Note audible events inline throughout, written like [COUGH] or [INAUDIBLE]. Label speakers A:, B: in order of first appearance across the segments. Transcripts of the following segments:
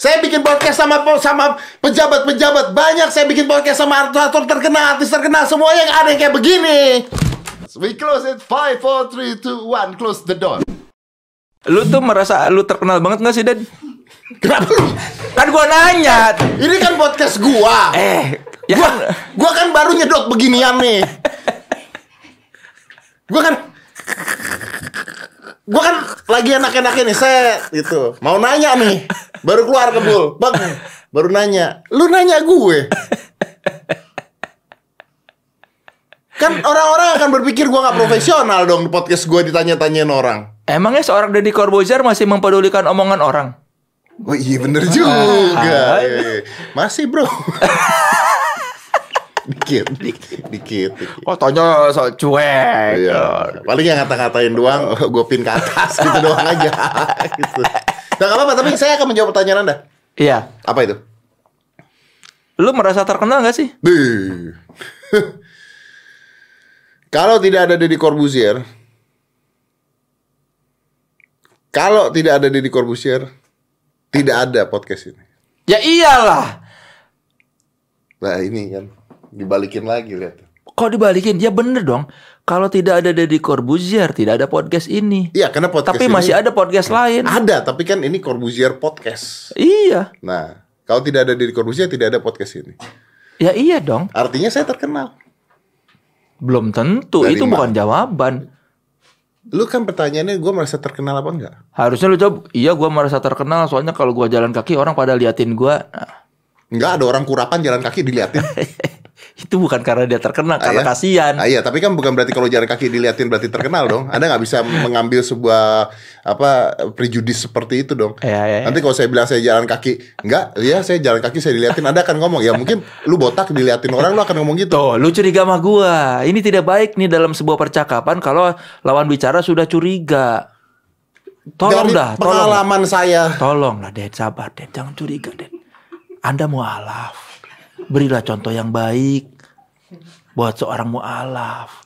A: Saya bikin podcast sama sama pejabat-pejabat banyak. Saya bikin podcast sama aktor-aktor terkenal, artis terkenal semuanya yang ada yang kayak begini. We close it 5 4 3 2 1 close the door.
B: Lu tuh merasa lu terkenal banget gak sih, Dad?
A: Kenapa lu?
B: Kan gua nanya.
A: Ini kan podcast gua.
B: Eh, ya
A: Gua,
B: kan
A: gua kan baru nyedot beginian nih. Gua kan Gua kan lagi enak-enaknya nih set gitu. Mau nanya nih. Baru keluar kebul. Bang, baru nanya. Lu nanya gue. Kan orang-orang akan berpikir gua nggak profesional dong di podcast gua ditanya-tanyain orang.
B: emangnya seorang Deddy Corbuzier masih mempedulikan omongan orang?
A: Oh iya bener juga Iya, iya. Masih bro [LAUGHS] Dikit Dikit Dikit
B: Oh, tanya so cuek.
A: Iya. Paling yang ngata-ngatain [LAUGHS] doang Gue pin ke atas gitu doang aja [LAUGHS] gitu. Nah gak apa-apa Tapi saya akan menjawab pertanyaan anda
B: Iya.
A: Apa itu?
B: Lu merasa terkenal gak sih?
A: Duh. [LAUGHS] Kalau tidak ada Deddy Corbuzier Kalau tidak ada Deddy Corbuzier Tidak ada podcast ini
B: Ya iyalah.
A: Nah ini kan Dibalikin lagi lihat
B: Kok dibalikin? Ya bener dong. Kalau tidak ada Deddy Corbuzier, tidak ada podcast ini.
A: Iya, karena podcast
B: Tapi
A: ini-
B: masih ada podcast lain.
A: Ada, tapi kan ini Corbuzier podcast.
B: Iya.
A: Nah, kalau tidak ada Deddy Corbuzier tidak ada podcast ini.
B: Ya iya dong.
A: Artinya saya terkenal.
B: Belum tentu.
A: Dari
B: Itu
A: mana?
B: bukan jawaban.
A: Lu kan pertanyaannya gue merasa terkenal apa enggak?
B: Harusnya lu jawab, iya gua merasa terkenal soalnya kalau gua jalan kaki orang pada liatin gua. Nah,
A: Enggak ada orang kurapan jalan kaki
B: [LAUGHS]
A: diliatin.
B: itu bukan karena dia terkenal,
A: Ah,
B: karena
A: ya?
B: kasihan.
A: Ah, iya, tapi kan bukan berarti kalau jalan kaki diliatin berarti terkenal dong. Anda nggak bisa mengambil sebuah apa prejudis seperti itu dong.
B: Iya, iya, iya.
A: Nanti kalau saya bilang saya jalan kaki, enggak, ya saya jalan kaki saya diliatin, Anda akan ngomong ya mungkin lu botak diliatin orang lu akan ngomong gitu.
B: Tuh, lu curiga sama gua. Ini tidak baik nih dalam sebuah percakapan kalau lawan bicara sudah curiga. Tolong
A: Dari
B: dah, tolong. lah.
A: pengalaman saya
B: Tolong lah, Ded, sabar, Ded. Jangan curiga, Ded. Anda mualaf. Berilah contoh yang baik buat seorang mualaf.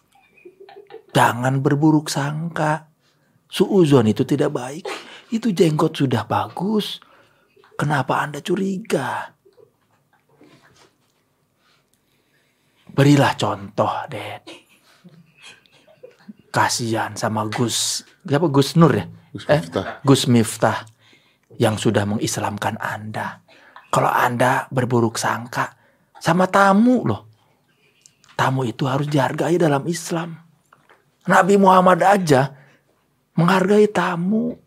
B: Jangan berburuk sangka. Suuzon itu tidak baik. Itu jenggot sudah bagus. Kenapa Anda curiga? Berilah contoh, Ded. Kasihan sama Gus. Siapa Gus Nur ya?
A: Gus
B: Eh,
A: Miftah.
B: Gus Miftah yang sudah mengislamkan Anda. Kalau Anda berburuk sangka sama tamu loh. Tamu itu harus dihargai dalam Islam. Nabi Muhammad aja menghargai tamu.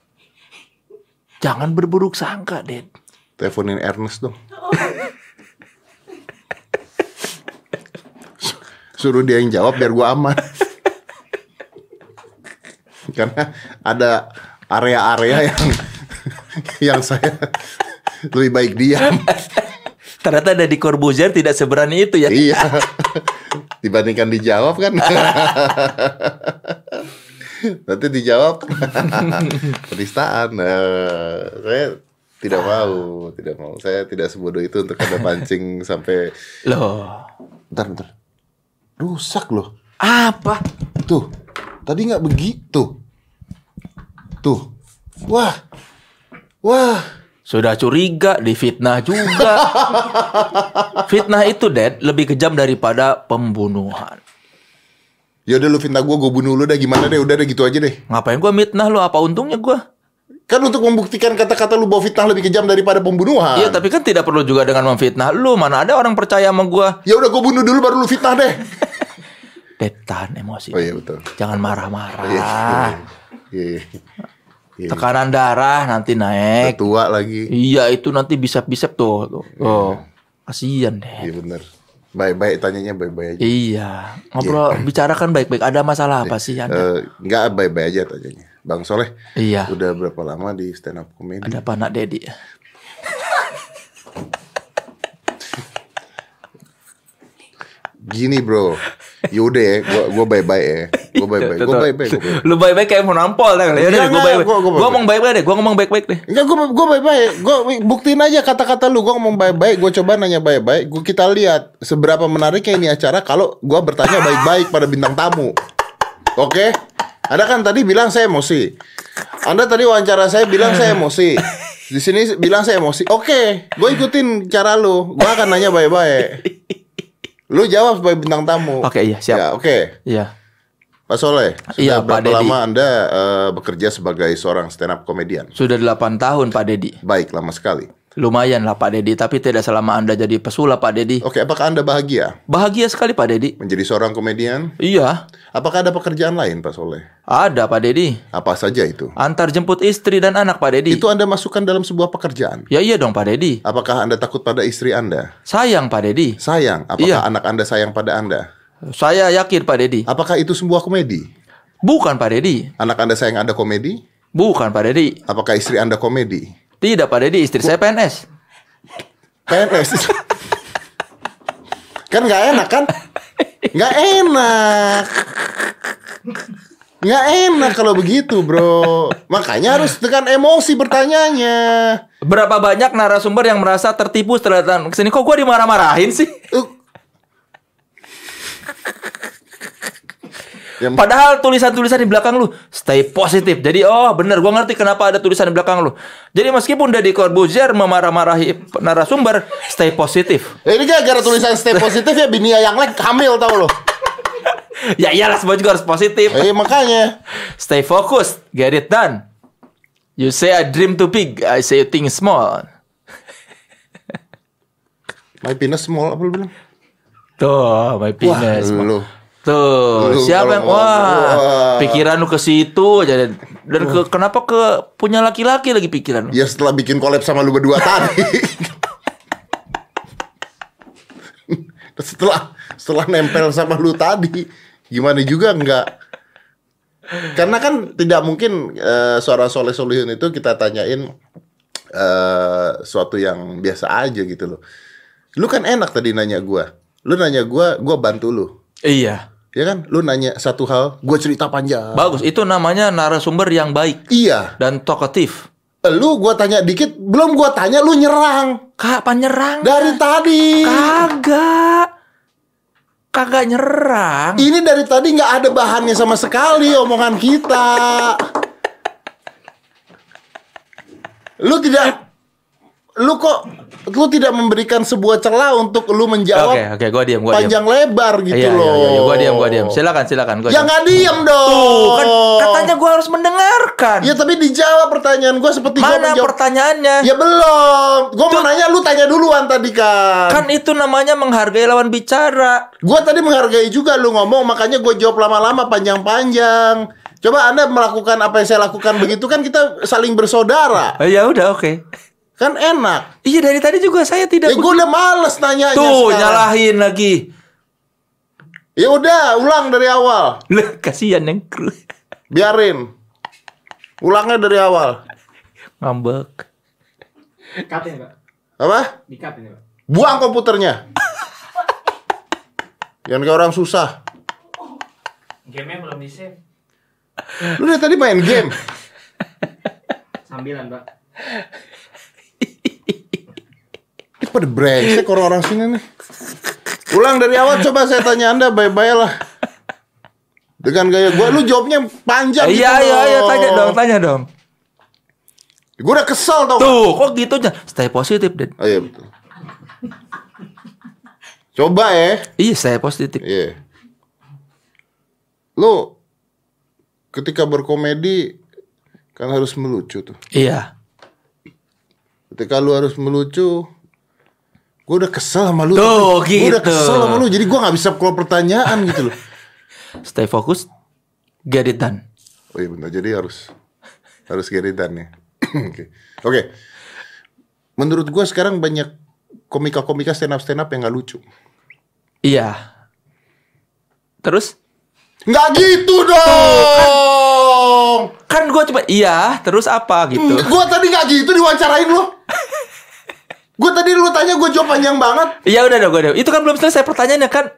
B: Jangan berburuk sangka, Ded.
A: teleponin Ernest dong. Su- Suruh dia yang jawab biar gua aman. Karena ada area-area yang yang saya lebih baik diam.
B: Ternyata Deddy Corbuzier tidak seberani itu ya.
A: iya. Dibandingkan dijawab kan. Nanti dijawab penistaan. Eh, saya tidak mau, tidak mau. Saya tidak sebodoh itu untuk ada pancing sampai
B: Loh,
A: Bentar, bentar. Rusak loh.
B: apa?
A: Tuh. Tadi nggak begitu. Tuh. Wah. Wah.
B: Sudah curiga, difitnah [LAUGHS] juga. Fitnah itu, Ded, lebih kejam daripada pembunuhan.
A: Yaudah Ya lu fitnah gue, gue bunuh lu dah gimana deh, udah deh gitu aja deh.
B: Ngapain gua mitnah lu? Apa untungnya gua?
A: Kan untuk membuktikan kata-kata lu bahwa fitnah lebih kejam daripada pembunuhan.
B: Iya, tapi kan tidak perlu juga dengan memfitnah lu. Mana ada orang percaya sama gua?
A: Ya udah gue bunuh dulu baru lu fitnah deh.
B: Ded, tahan emosi.
A: Oh iya betul.
B: Jangan marah-marah.
A: Iya.
B: Ah.
A: Iya. iya. Iya.
B: Tekanan darah nanti
A: Udah
B: naik.
A: Tua lagi.
B: Iya, itu nanti bisep-bisep tuh. tuh. Oh, kasihan deh.
A: Iya bener. Baik-baik tanyanya baik-baik aja.
B: Iya, ngobrol bicarakan baik-baik. Ada masalah apa sih? Ada,
A: Eh, Nggak baik-baik aja tanyanya. Bang Soleh.
B: Iya.
A: Udah berapa lama di stand up comedy?
B: ada apa nak Dedi?
A: Gini bro, yaudah ya, gua gua bye bye ya, gua bye bye, gua bye bye, gua bye.
B: [LAUGHS] Lu baik-baik kayak mau nampol kan?
A: Enggak,
B: Ya udah, gua
A: enggak, gua-
B: baik-baik.
A: gua
B: Gua
A: baik-baik.
B: ngomong baik-baik deh. Gua ngomong baik-baik deh.
A: Enggak, gua gua bye bye, gua buktiin aja kata-kata lu, gua ngomong bye bye, gua coba nanya bye bye, gua kita lihat seberapa menariknya ini acara kalau gua bertanya baik baik pada bintang tamu, oke? Anda kan tadi bilang saya emosi. Anda tadi wawancara saya bilang saya emosi. Di sini bilang saya emosi. Oke, gue ikutin cara lu. Gue akan nanya baik-baik. Lu jawab sebagai bintang tamu.
B: Oke, iya, siap.
A: Ya, oke.
B: Iya.
A: Pak Soleh, sudah
B: Iya, Pak
A: berapa
B: Dedi.
A: lama Anda eh, bekerja sebagai seorang stand up comedian?
B: Sudah 8 tahun Pak Dedi.
A: Baik, lama sekali.
B: Lumayan lah Pak Dedi, tapi tidak selama Anda jadi pesulap Pak Dedi.
A: Oke, apakah Anda bahagia
B: Bahagia sekali Pak Dedi.
A: menjadi seorang komedian?
B: Iya,
A: Apakah ada pekerjaan lain, Pak Soleh?
B: ada Pak Dedi.
A: Apa saja itu?
B: Antar jemput istri dan anak Pak Dedi.
A: Itu Anda masukkan dalam sebuah pekerjaan.
B: Ya iya dong Pak Dedi.
A: Apakah Anda takut pada istri Anda?
B: Sayang Pak Dedi.
A: Sayang, apakah
B: Iya.
A: anak Anda sayang pada Anda?
B: Saya yakin Pak Dedi.
A: Apakah itu sebuah komedi?
B: Bukan Pak Dedi.
A: Anak Anda sayang Anda komedi?
B: Bukan Pak Dedi.
A: Apakah istri Anda komedi?
B: Tidak Pak Dedi, istri saya PNS.
A: PNS. [LAUGHS] kan nggak enak kan? Nggak enak. Nggak enak kalau begitu bro. Makanya harus dengan emosi bertanyanya.
B: Berapa banyak narasumber yang merasa tertipu setelah datang ke sini? Kok gua dimarah-marahin sih?
A: Uh. Yang
B: [LAUGHS] Padahal tulisan-tulisan di belakang lu stay positif. Jadi oh bener gua ngerti kenapa ada tulisan di belakang lu. Jadi meskipun Deddy Corbuzier memarah-marahi narasumber, stay positif. [LAUGHS]
A: Eh, ini gara-gara tulisan stay positif ya Binia yang lain hamil tau loh.
B: Ya iyalah semua juga harus positif.
A: Eh makanya.
B: Stay focused, get it done. You say I dream too big, I say you think small.
A: My penis small apa lu bilang?
B: Tuh, my penis.
A: Wah, lu.
B: Tuh,
A: Lu kalau
B: siapa yang wah,
A: ngomong, wah.
B: pikiran lu ke situ aja dan, dan ke, kenapa ke punya laki-laki lagi pikiran lu?
A: Ya setelah bikin collab sama lu berdua tadi. setelah setelah nempel sama lu tadi, gimana juga nggak? Karena kan tidak mungkin eh, seorang Soleh Solihun itu kita tanyain eh suatu yang biasa aja gitu loh. Lu kan enak tadi nanya gua. Lu nanya gua, gua bantu lu.
B: Iya.
A: Ya kan? Lu nanya satu hal, gua cerita panjang.
B: Bagus, itu namanya narasumber yang baik
A: iya.
B: dan talkative.
A: Lu gua tanya dikit, belum gua tanya lu nyerang
B: Kak, penyerang.
A: dari tadi.
B: Kagak. Kagak nyerang.
A: Ini dari tadi nggak ada bahannya sama sekali omongan kita. Lu tidak lu kok lu tidak memberikan sebuah celah untuk lu menjawab
B: Oke, oke, gua diam,
A: Iya,
B: gua diam.
A: oh, panjang lebar gitu
B: Iya,
A: loh.
B: iya, iya, gua diam, gua diam. Silakan, silakan, gua
A: Ya
B: diam.
A: nggak diam dong.
B: Tuh, kan katanya gua harus mendengarkan.
A: Ya tapi dijawab pertanyaan gua seperti gua
B: Mana
A: menjawab.
B: pertanyaannya?
A: Ya belum. Gua mau nanya lu tanya duluan tadi kan.
B: Kan itu namanya menghargai lawan bicara.
A: Gua tadi menghargai juga lu ngomong, makanya gue jawab lama-lama panjang-panjang. Coba Anda melakukan apa yang saya lakukan begitu kan kita saling bersaudara.
B: Oh, ya udah, oke.
A: Kan enak.
B: Iya dari tadi juga saya
A: Ya
B: tidak.
A: gue udah males nanya
B: Tuh nyalahin lagi.
A: Ya udah, ulang dari awal.
B: Lah kasihan yang kru
A: Biarin. Ulangnya dari awal.
B: ngambek.
C: Cut ini pak,
A: Apa?
C: di cut ya, ini pak.
A: Buang komputernya. Jangan kayak orang susah.
C: Game-nya belum di save.
A: Lu dari tadi main game.
C: Sambilan pak.
A: Ini pada brengsek orang-orang sini nih. Ulang dari awal coba saya tanya Anda baik-baik lah. Dengan gaya gua lu jawabnya panjang
B: Iya
A: gitu
B: iya
A: loh.
B: iya tanya dong tanya dong.
A: Gua udah kesel tau. nggak?
B: Tuh kok gitu aja. Stay positif dan.
A: Oh, iya betul. Coba ya.
B: Iya saya positif.
A: Iya. Lu ketika berkomedi kan harus melucu tuh.
B: Iya.
A: Ketika lu harus melucu Gue udah kesel sama lu Gua
B: Tuh,
A: udah
B: gitu.
A: kesel sama lu Jadi gua gak bisa keluar pertanyaan gitu loh
B: Stay fokus. Get it done.
A: Oh iya bentar, jadi harus harus geritan nih. [CLEARS THROAT] Oke. Oke. Menurut gua sekarang banyak komika-komika stand up stand up yang nggak lucu.
B: Iya. Terus
A: Nggak gitu dong.
B: kan gue coba iya terus apa gitu.
A: Gua tadi nggak gitu diwawancarain lo. Gua tadi lu tanya gua jawab panjang banget.
B: Iya udah dong gue Itu kan belum selesai pertanyaannya kan.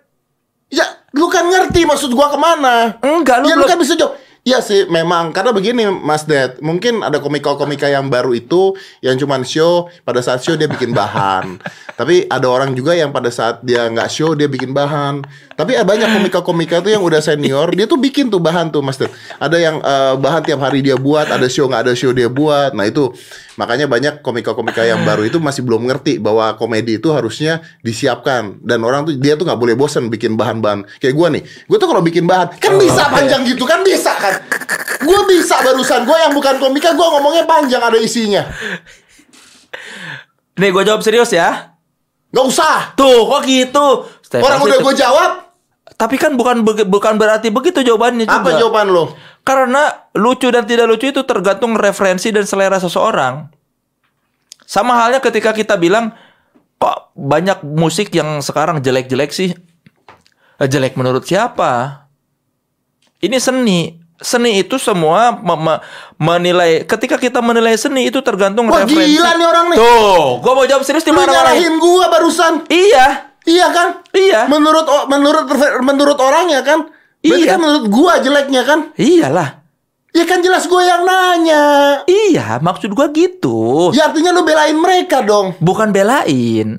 A: Ya, lu kan ngerti maksud gua kemana?
B: Enggak lu
A: ya lu
B: belum.
A: kan bisa jawab. Iya sih, memang karena begini Mas Ded, mungkin ada komika-komika yang baru itu yang cuman show pada saat show dia bikin
B: [LAUGHS]
A: bahan. Tapi ada orang juga yang pada saat dia nggak show dia bikin bahan. Tapi ada banyak komika-komika tuh yang udah senior, dia tuh bikin tuh bahan tuh Mas Ded. Ada yang eh, bahan tiap hari dia buat, ada show nggak ada show dia buat. Nah itu makanya banyak komika-komika yang baru itu masih belum ngerti bahwa komedi itu harusnya disiapkan dan orang tuh dia tuh nggak boleh bosen bikin bahan-bahan. Kayak gua nih, gua tuh kalau bikin bahan
B: Oh,
A: kan
B: iya.
A: bisa panjang gitu kan bisa kan gue bisa barusan gue yang bukan komika gue ngomongnya panjang ada isinya
B: Nih gue jawab serius ya.
A: nggak usah
B: Tuh kok gitu. Stefan
A: orang
B: sih
A: udah
B: tuh-
A: gue jawab
B: Tapi kan bukan be- bukan berarti begitu jawabannya
A: apa
B: juga.
A: jawaban lo
B: Karena lucu dan tidak lucu itu tergantung referensi dan selera seseorang. Sama halnya ketika kita bilang kok banyak musik yang sekarang jelek-jelek sih. Eh, Jelek menurut siapa? Ini seni. Seni itu semua me- me- menilai ketika kita menilai seni itu tergantung
A: wah
B: referensi.
A: gila nih orang nih
B: Tuh, Oh, gua mau jawab serius di
A: lu
B: mana-mana.
A: nyalahin gue barusan
B: Iya.
A: iya kan
B: Iya.
A: menurut o- menurut menurut orangnya kan Berarti
B: Iya.
A: kan menurut gue jeleknya kan
B: Iyalah.
A: ya kan jelas gue yang nanya
B: Iya, maksud gua gitu.
A: ya artinya lu belain mereka dong
B: Bukan belain.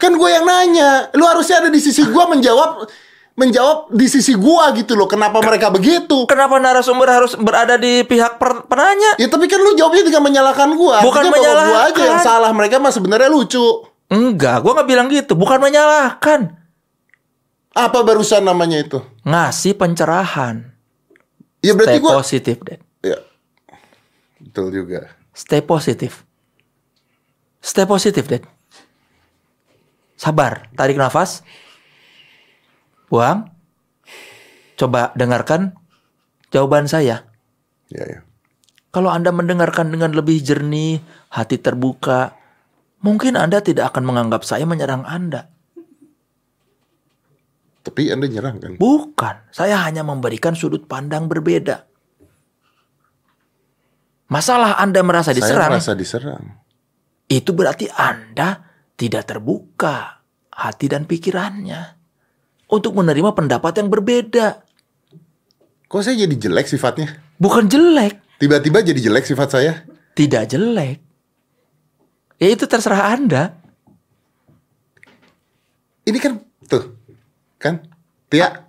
A: kan gue yang nanya lu harusnya ada di sisi gue menjawab menjawab di sisi gue gitu loh kenapa mereka begitu
B: Kenapa narasumber harus berada di pihak per- penanya?
A: Ya tapi kan lu jawabnya dengan menyalahkan gua.
B: Bukan
A: Artinya bahwa Gua aja
B: menyalahkan.
A: yang salah. Mereka mah sebenarnya lucu.
B: Enggak, gua nggak bilang gitu. Bukan menyalahkan,
A: Apa barusan namanya itu?
B: ngasih pencerahan.
A: Ya berarti
B: Stay
A: gua
B: positif, Dad.
A: ya. Betul juga.
B: Stay positif. Stay positif, Dad. Sabar, tarik nafas. Buang. Coba dengarkan jawaban saya.
A: Ya ya.
B: Kalau Anda mendengarkan dengan lebih jernih, hati terbuka, mungkin Anda tidak akan menganggap saya menyerang Anda.
A: Tapi Anda nyerang kan?
B: Bukan, saya hanya memberikan sudut pandang berbeda. Masalah Anda merasa
A: Saya
B: diserang,
A: merasa diserang.
B: itu berarti Anda tidak terbuka hati dan pikirannya untuk menerima pendapat yang berbeda.
A: Kok saya jadi jelek sifatnya?
B: Bukan jelek,
A: Tiba-tiba jadi jelek sifat saya?
B: tidak jelek. Ya itu terserah Anda.
A: Ini kan tuh. Kan? Tia.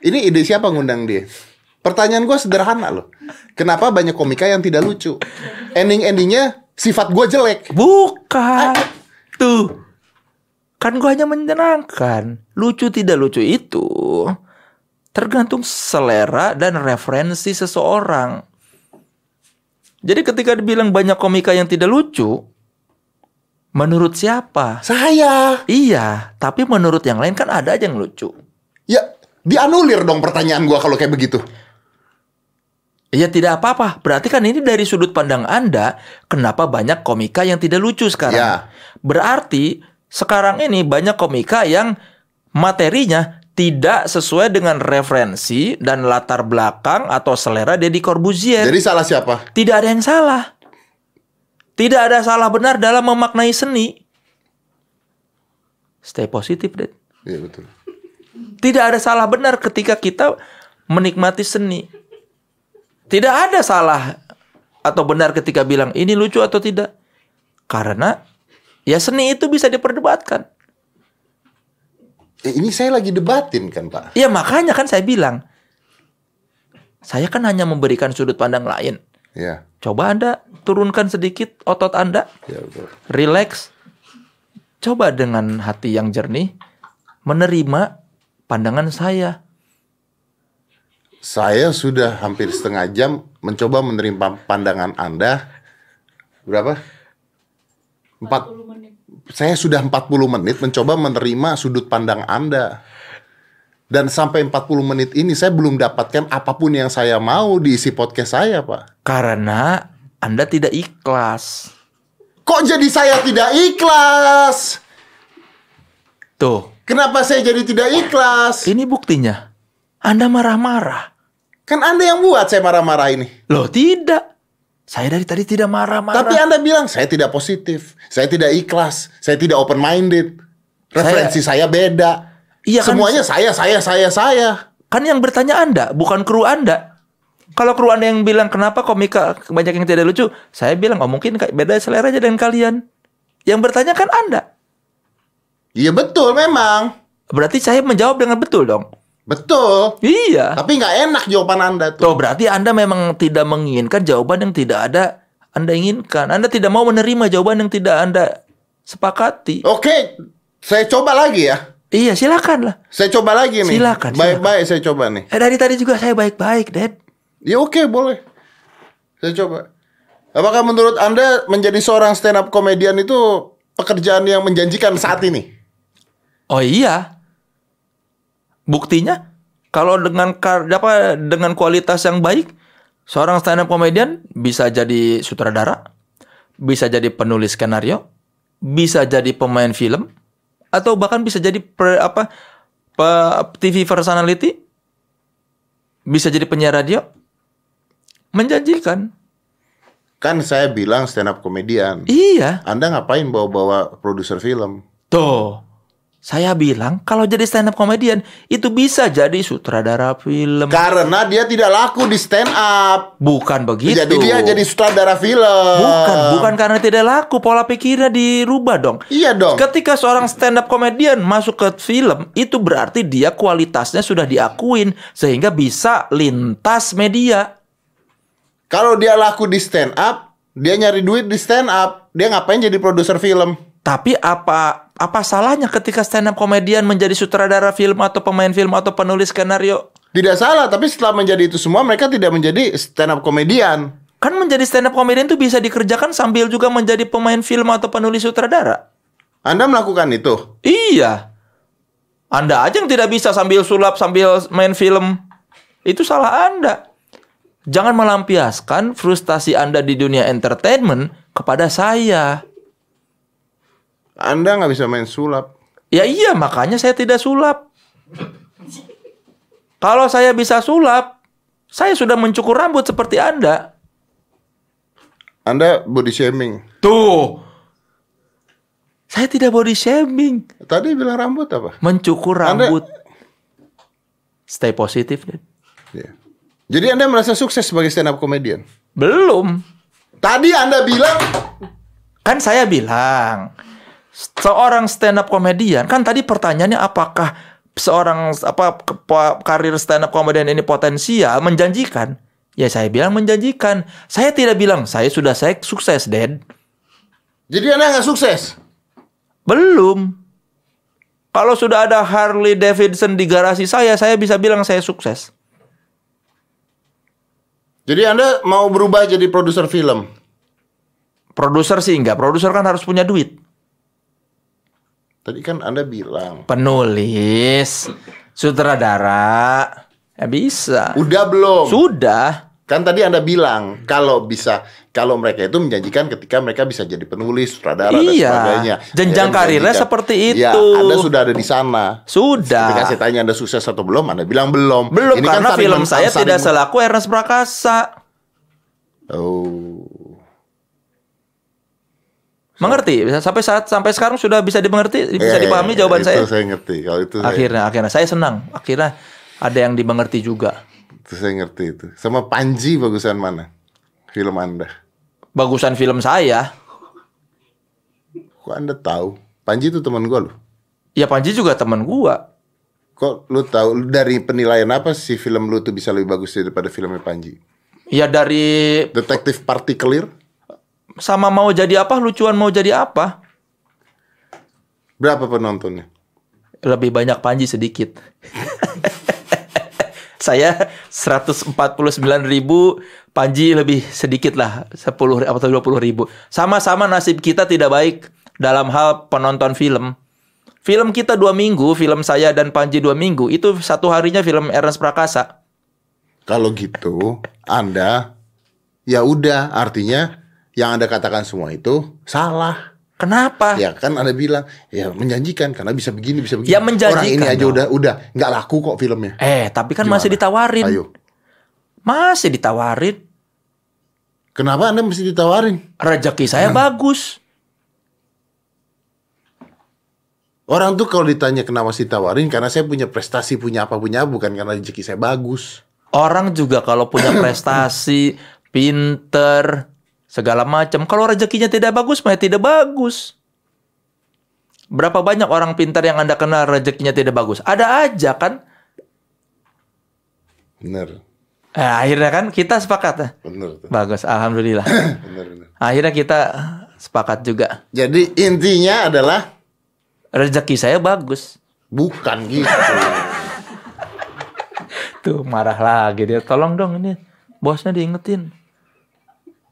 A: Ini ide siapa ngundang dia? Pertanyaan gua sederhana loh. Kenapa banyak komika yang tidak lucu? Ending-endingnya sifat gua jelek.
B: Bukan. Tuh. Kan gua hanya menyenangkan. Lucu tidak lucu itu tergantung selera dan referensi seseorang. Jadi ketika dibilang banyak komika yang tidak lucu, menurut siapa?
A: Saya.
B: Iya, tapi menurut yang lain kan ada aja yang lucu.
A: Ya, dianulir dong pertanyaan gua kalau kayak begitu.
B: Ya tidak apa-apa. Berarti kan ini dari sudut pandang Anda, kenapa banyak komika yang tidak lucu sekarang?
A: Ya.
B: Berarti sekarang ini banyak komika yang materinya tidak sesuai dengan referensi dan latar belakang atau selera Deddy Corbuzier.
A: Jadi salah siapa?
B: tidak ada yang salah. Tidak ada salah benar dalam memaknai seni. Stay positif, Ded.
A: Iya betul.
B: Tidak ada salah benar ketika kita menikmati seni. Tidak ada salah atau benar ketika bilang ini lucu atau tidak. Karena ya seni itu bisa diperdebatkan.
A: Eh, ini saya lagi debatin kan Pak.
B: Ya makanya kan saya bilang. Saya kan hanya memberikan sudut pandang lain.
A: Iya,
B: Coba Anda turunkan sedikit otot Anda.
A: iya betul.
B: relax, coba dengan hati yang jernih menerima pandangan saya.
A: Saya sudah hampir setengah jam mencoba menerima pandangan Anda. Berapa? Empat. Saya sudah 40 menit mencoba menerima sudut pandang Anda. Dan sampai 40 menit ini saya belum dapatkan apapun yang saya mau diisi podcast saya, Pak.
B: Karena Anda tidak ikhlas.
A: Kok jadi saya tidak ikhlas?
B: Tuh,
A: Kenapa saya jadi tidak ikhlas?
B: ini buktinya. Anda marah-marah.
A: Kan Anda yang buat saya marah-marah ini.
B: Loh, tidak. Saya dari tadi tidak marah-marah.
A: Tapi ya, Anda bilang saya tidak positif, saya tidak ikhlas, saya tidak open minded. Referensi saya, beda.
B: Iya kan?
A: Semuanya saya saya saya saya.
B: Kan yang bertanya Anda, bukan kru Anda. Kalau kru Anda yang bilang kenapa komika banyak yang tidak lucu, saya bilang oh mungkin kayak beda selera aja dengan kalian. Yang bertanya kan Anda.
A: Iya betul memang.
B: Berarti saya menjawab dengan betul dong.
A: Betul.
B: Iya.
A: Tapi nggak enak jawaban Anda tuh.
B: Tuh berarti Anda memang tidak menginginkan jawaban yang tidak ada Anda inginkan. Anda tidak mau menerima jawaban yang tidak Anda sepakati.
A: Oke, saya coba lagi ya.
B: Iya, silakan lah.
A: Saya coba lagi nih.
B: Silakan,
A: Baik-baik saya coba nih.
B: Eh dari tadi juga saya baik-baik, Dad.
A: Ya oke boleh. Saya coba. Apakah menurut Anda menjadi seorang stand up komedian itu pekerjaan yang menjanjikan saat ini?
B: Oh iya. Buktinya kalau dengan kar apa dengan kualitas yang baik, seorang stand up comedian bisa jadi sutradara, bisa jadi penulis skenario, bisa jadi pemain film atau bahkan bisa jadi pre- apa pe- TV personality, bisa jadi penyiar radio. Menjanjikan.
A: Kan saya bilang stand up komedian.
B: Iya.
A: Anda ngapain bawa-bawa produser film?
B: Tuh, saya bilang kalau jadi stand up comedian itu bisa jadi sutradara film.
A: Karena dia tidak laku di stand up.
B: Bukan begitu.
A: Jadi dia jadi sutradara film.
B: Gitu. bukan, bukan karena tidak laku pola pikirnya dirubah dong.
A: Iya dong.
B: Ketika seorang stand up komedian masuk ke film, itu berarti dia kualitasnya sudah diakuin sehingga bisa lintas media.
A: Kalau dia laku di stand up, dia nyari duit di stand up, dia ngapain jadi produser film?
B: Tapi apa apa salahnya ketika stand up komedian menjadi sutradara film atau pemain film atau penulis skenario?
A: Tidak salah, tapi setelah menjadi itu semua mereka tidak menjadi stand up komedian.
B: Kan menjadi stand up komedian itu bisa dikerjakan sambil juga menjadi pemain film atau penulis sutradara.
A: Anda melakukan itu.
B: Iya. Anda aja yang tidak bisa sambil sulap, sambil main film. Itu salah Anda. Jangan melampiaskan frustasi Anda di dunia entertainment kepada saya.
A: Anda nggak bisa main sulap.
B: Ya iya, makanya saya tidak sulap. Kalau saya bisa sulap, saya sudah mencukur rambut seperti Anda.
A: Anda body shaming.
B: Tuh. Saya tidak body shaming,
A: Tadi bilang rambut apa?
B: mencukur
A: Anda-
B: rambut. Stay positif, Dad.
A: Iya. Jadi Anda merasa sukses sebagai stand up komedian.
B: Belum.
A: Tadi Anda bilang
B: Kan saya bilang seorang stand up komedian kan tadi pertanyaannya apakah seorang apa ke- pa- karir stand up komedian ini potensial menjanjikan? Ya saya bilang menjanjikan. Saya tidak bilang saya sudah saya sukses, Dad.
A: jadi Anda nggak sukses.
B: Belum. Kalau sudah ada Harley Davidson di garasi saya, saya bisa bilang saya sukses.
A: Jadi Anda mau berubah jadi produser film.
B: Produser sih enggak, produser kan harus punya duit.
A: Tadi kan Anda bilang.
B: Penulis, sutradara, ya bisa.
A: Udah belum?
B: Sudah.
A: Kan tadi Anda bilang kalau bisa kalau mereka itu menjanjikan ketika mereka bisa jadi penulis, sutradara
B: Iya.
A: dan sebagainya.
B: Jenjang
A: Mereka
B: karirnya
A: menjanjikan.
B: seperti
A: Iya,
B: itu.
A: Anda sudah ada di sana.
B: Sudah.
A: Ketika saya tanya Anda sukses atau belum, Anda bilang belum.
B: Belum
A: Ini kan
B: karena
A: saling
B: film
A: men-
B: saya
A: saling
B: tidak
A: men-
B: selaku Ernest Prakasa.
A: Oh.
B: Mengerti? Sampai saat sampai sekarang sudah bisa dimengerti, bisa
A: Eh,
B: dipahami jawaban
A: itu
B: saya.
A: saya ngerti. Kalau itu saya-
B: Akhirnya, akhirnya saya senang. Akhirnya ada yang dimengerti juga.
A: itu saya ngerti itu. Sama Panji bagusan mana? Film Anda.
B: Bagusan film saya.
A: Kok Anda tahu? Panji itu teman gua loh.
B: Ya Panji juga teman gua.
A: Kok lu tahu Lu dari penilaian apa sih film lu tuh bisa lebih bagus daripada filmnya Panji?
B: Ya dari
A: Detektif Partikelir?
B: sama mau jadi apa, lucuan mau jadi apa.
A: Berapa penontonnya?
B: Lebih banyak Panji sedikit. [LAUGHS] saya 149 ribu, Panji lebih sedikit lah, 10 ri- atau 20 ribu. Sama-sama nasib kita tidak baik dalam hal penonton film. Film kita dua minggu, film saya dan Panji dua minggu, itu satu harinya film Ernest Prakasa.
A: Kalau gitu, Anda ya udah artinya yang Anda katakan semua itu salah.
B: Kenapa?
A: Ya kan Anda bilang ya menjanjikan karena bisa begini bisa begini.
B: Ya, menjanjikan
A: Orang ini aja
B: dong.
A: udah udah nggak laku kok filmnya.
B: Eh, tapi kan masih
A: Gimana?
B: ditawarin.
A: Ayo.
B: Masih ditawarin.
A: Kenapa Anda mesti Hmm. ditawarin?
B: Rezeki saya bagus.
A: Orang tuh kalau ditanya kenapa sih tawarin karena saya punya prestasi, punya apa, punya apa, bukan karena rezeki saya bagus.
B: Orang juga kalau [COUGHS] punya prestasi, pinter, segala macam. Kalau rezekinya tidak bagus, mah ya tidak bagus. Berapa banyak orang pintar yang Anda kenal rezekinya tidak bagus? Ada aja kan?
A: Bener,
B: Eh, akhirnya kan kita sepakat. eh.
A: bener tuh.
B: Bagus, [COUGHS] alhamdulillah.
A: Bener, bener.
B: akhirnya kita sepakat juga.
A: Jadi intinya adalah
B: Rezeki saya bagus.
A: bukan gitu.
B: Tuh marah lagi dia. Tolong dong ini bosnya diingetin.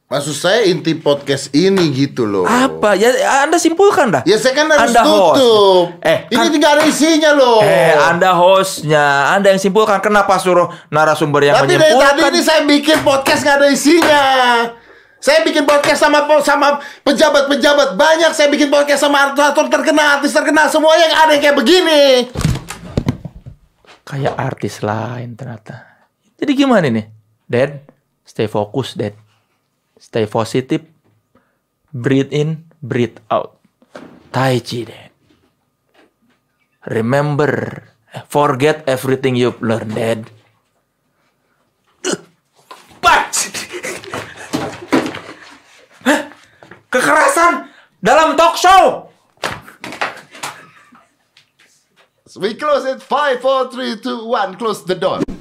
A: Maksud saya inti podcast ini gitu loh.
B: Apa? Ya Anda simpulkan dah.
A: Ya saya kan harus
B: Anda host.
A: tutup.
B: Eh,
A: ini
B: kan-
A: tidak ada isinya loh.
B: Eh, Anda hostnya, Anda yang simpulkan kenapa suruh narasumber yang
A: Tapi dari tadi
B: menyimpulkan?
A: ini saya bikin podcast nggak ada isinya. Saya bikin podcast sama sama pejabat-pejabat banyak. Saya bikin podcast sama artis terkenal, artis terkenal semua yang ada yang kayak begini.
B: Kayak artis lain ternyata. Jadi gimana nih? Dad, stay fokus, Dad. Stay positif. Breathe in, breathe out. Tai Chi, Dad. Remember, forget everything you've learned, Dad. Pat! Hah? Kekerasan dalam talk show.
A: We close it. Five, four, three, two, one. Close the door.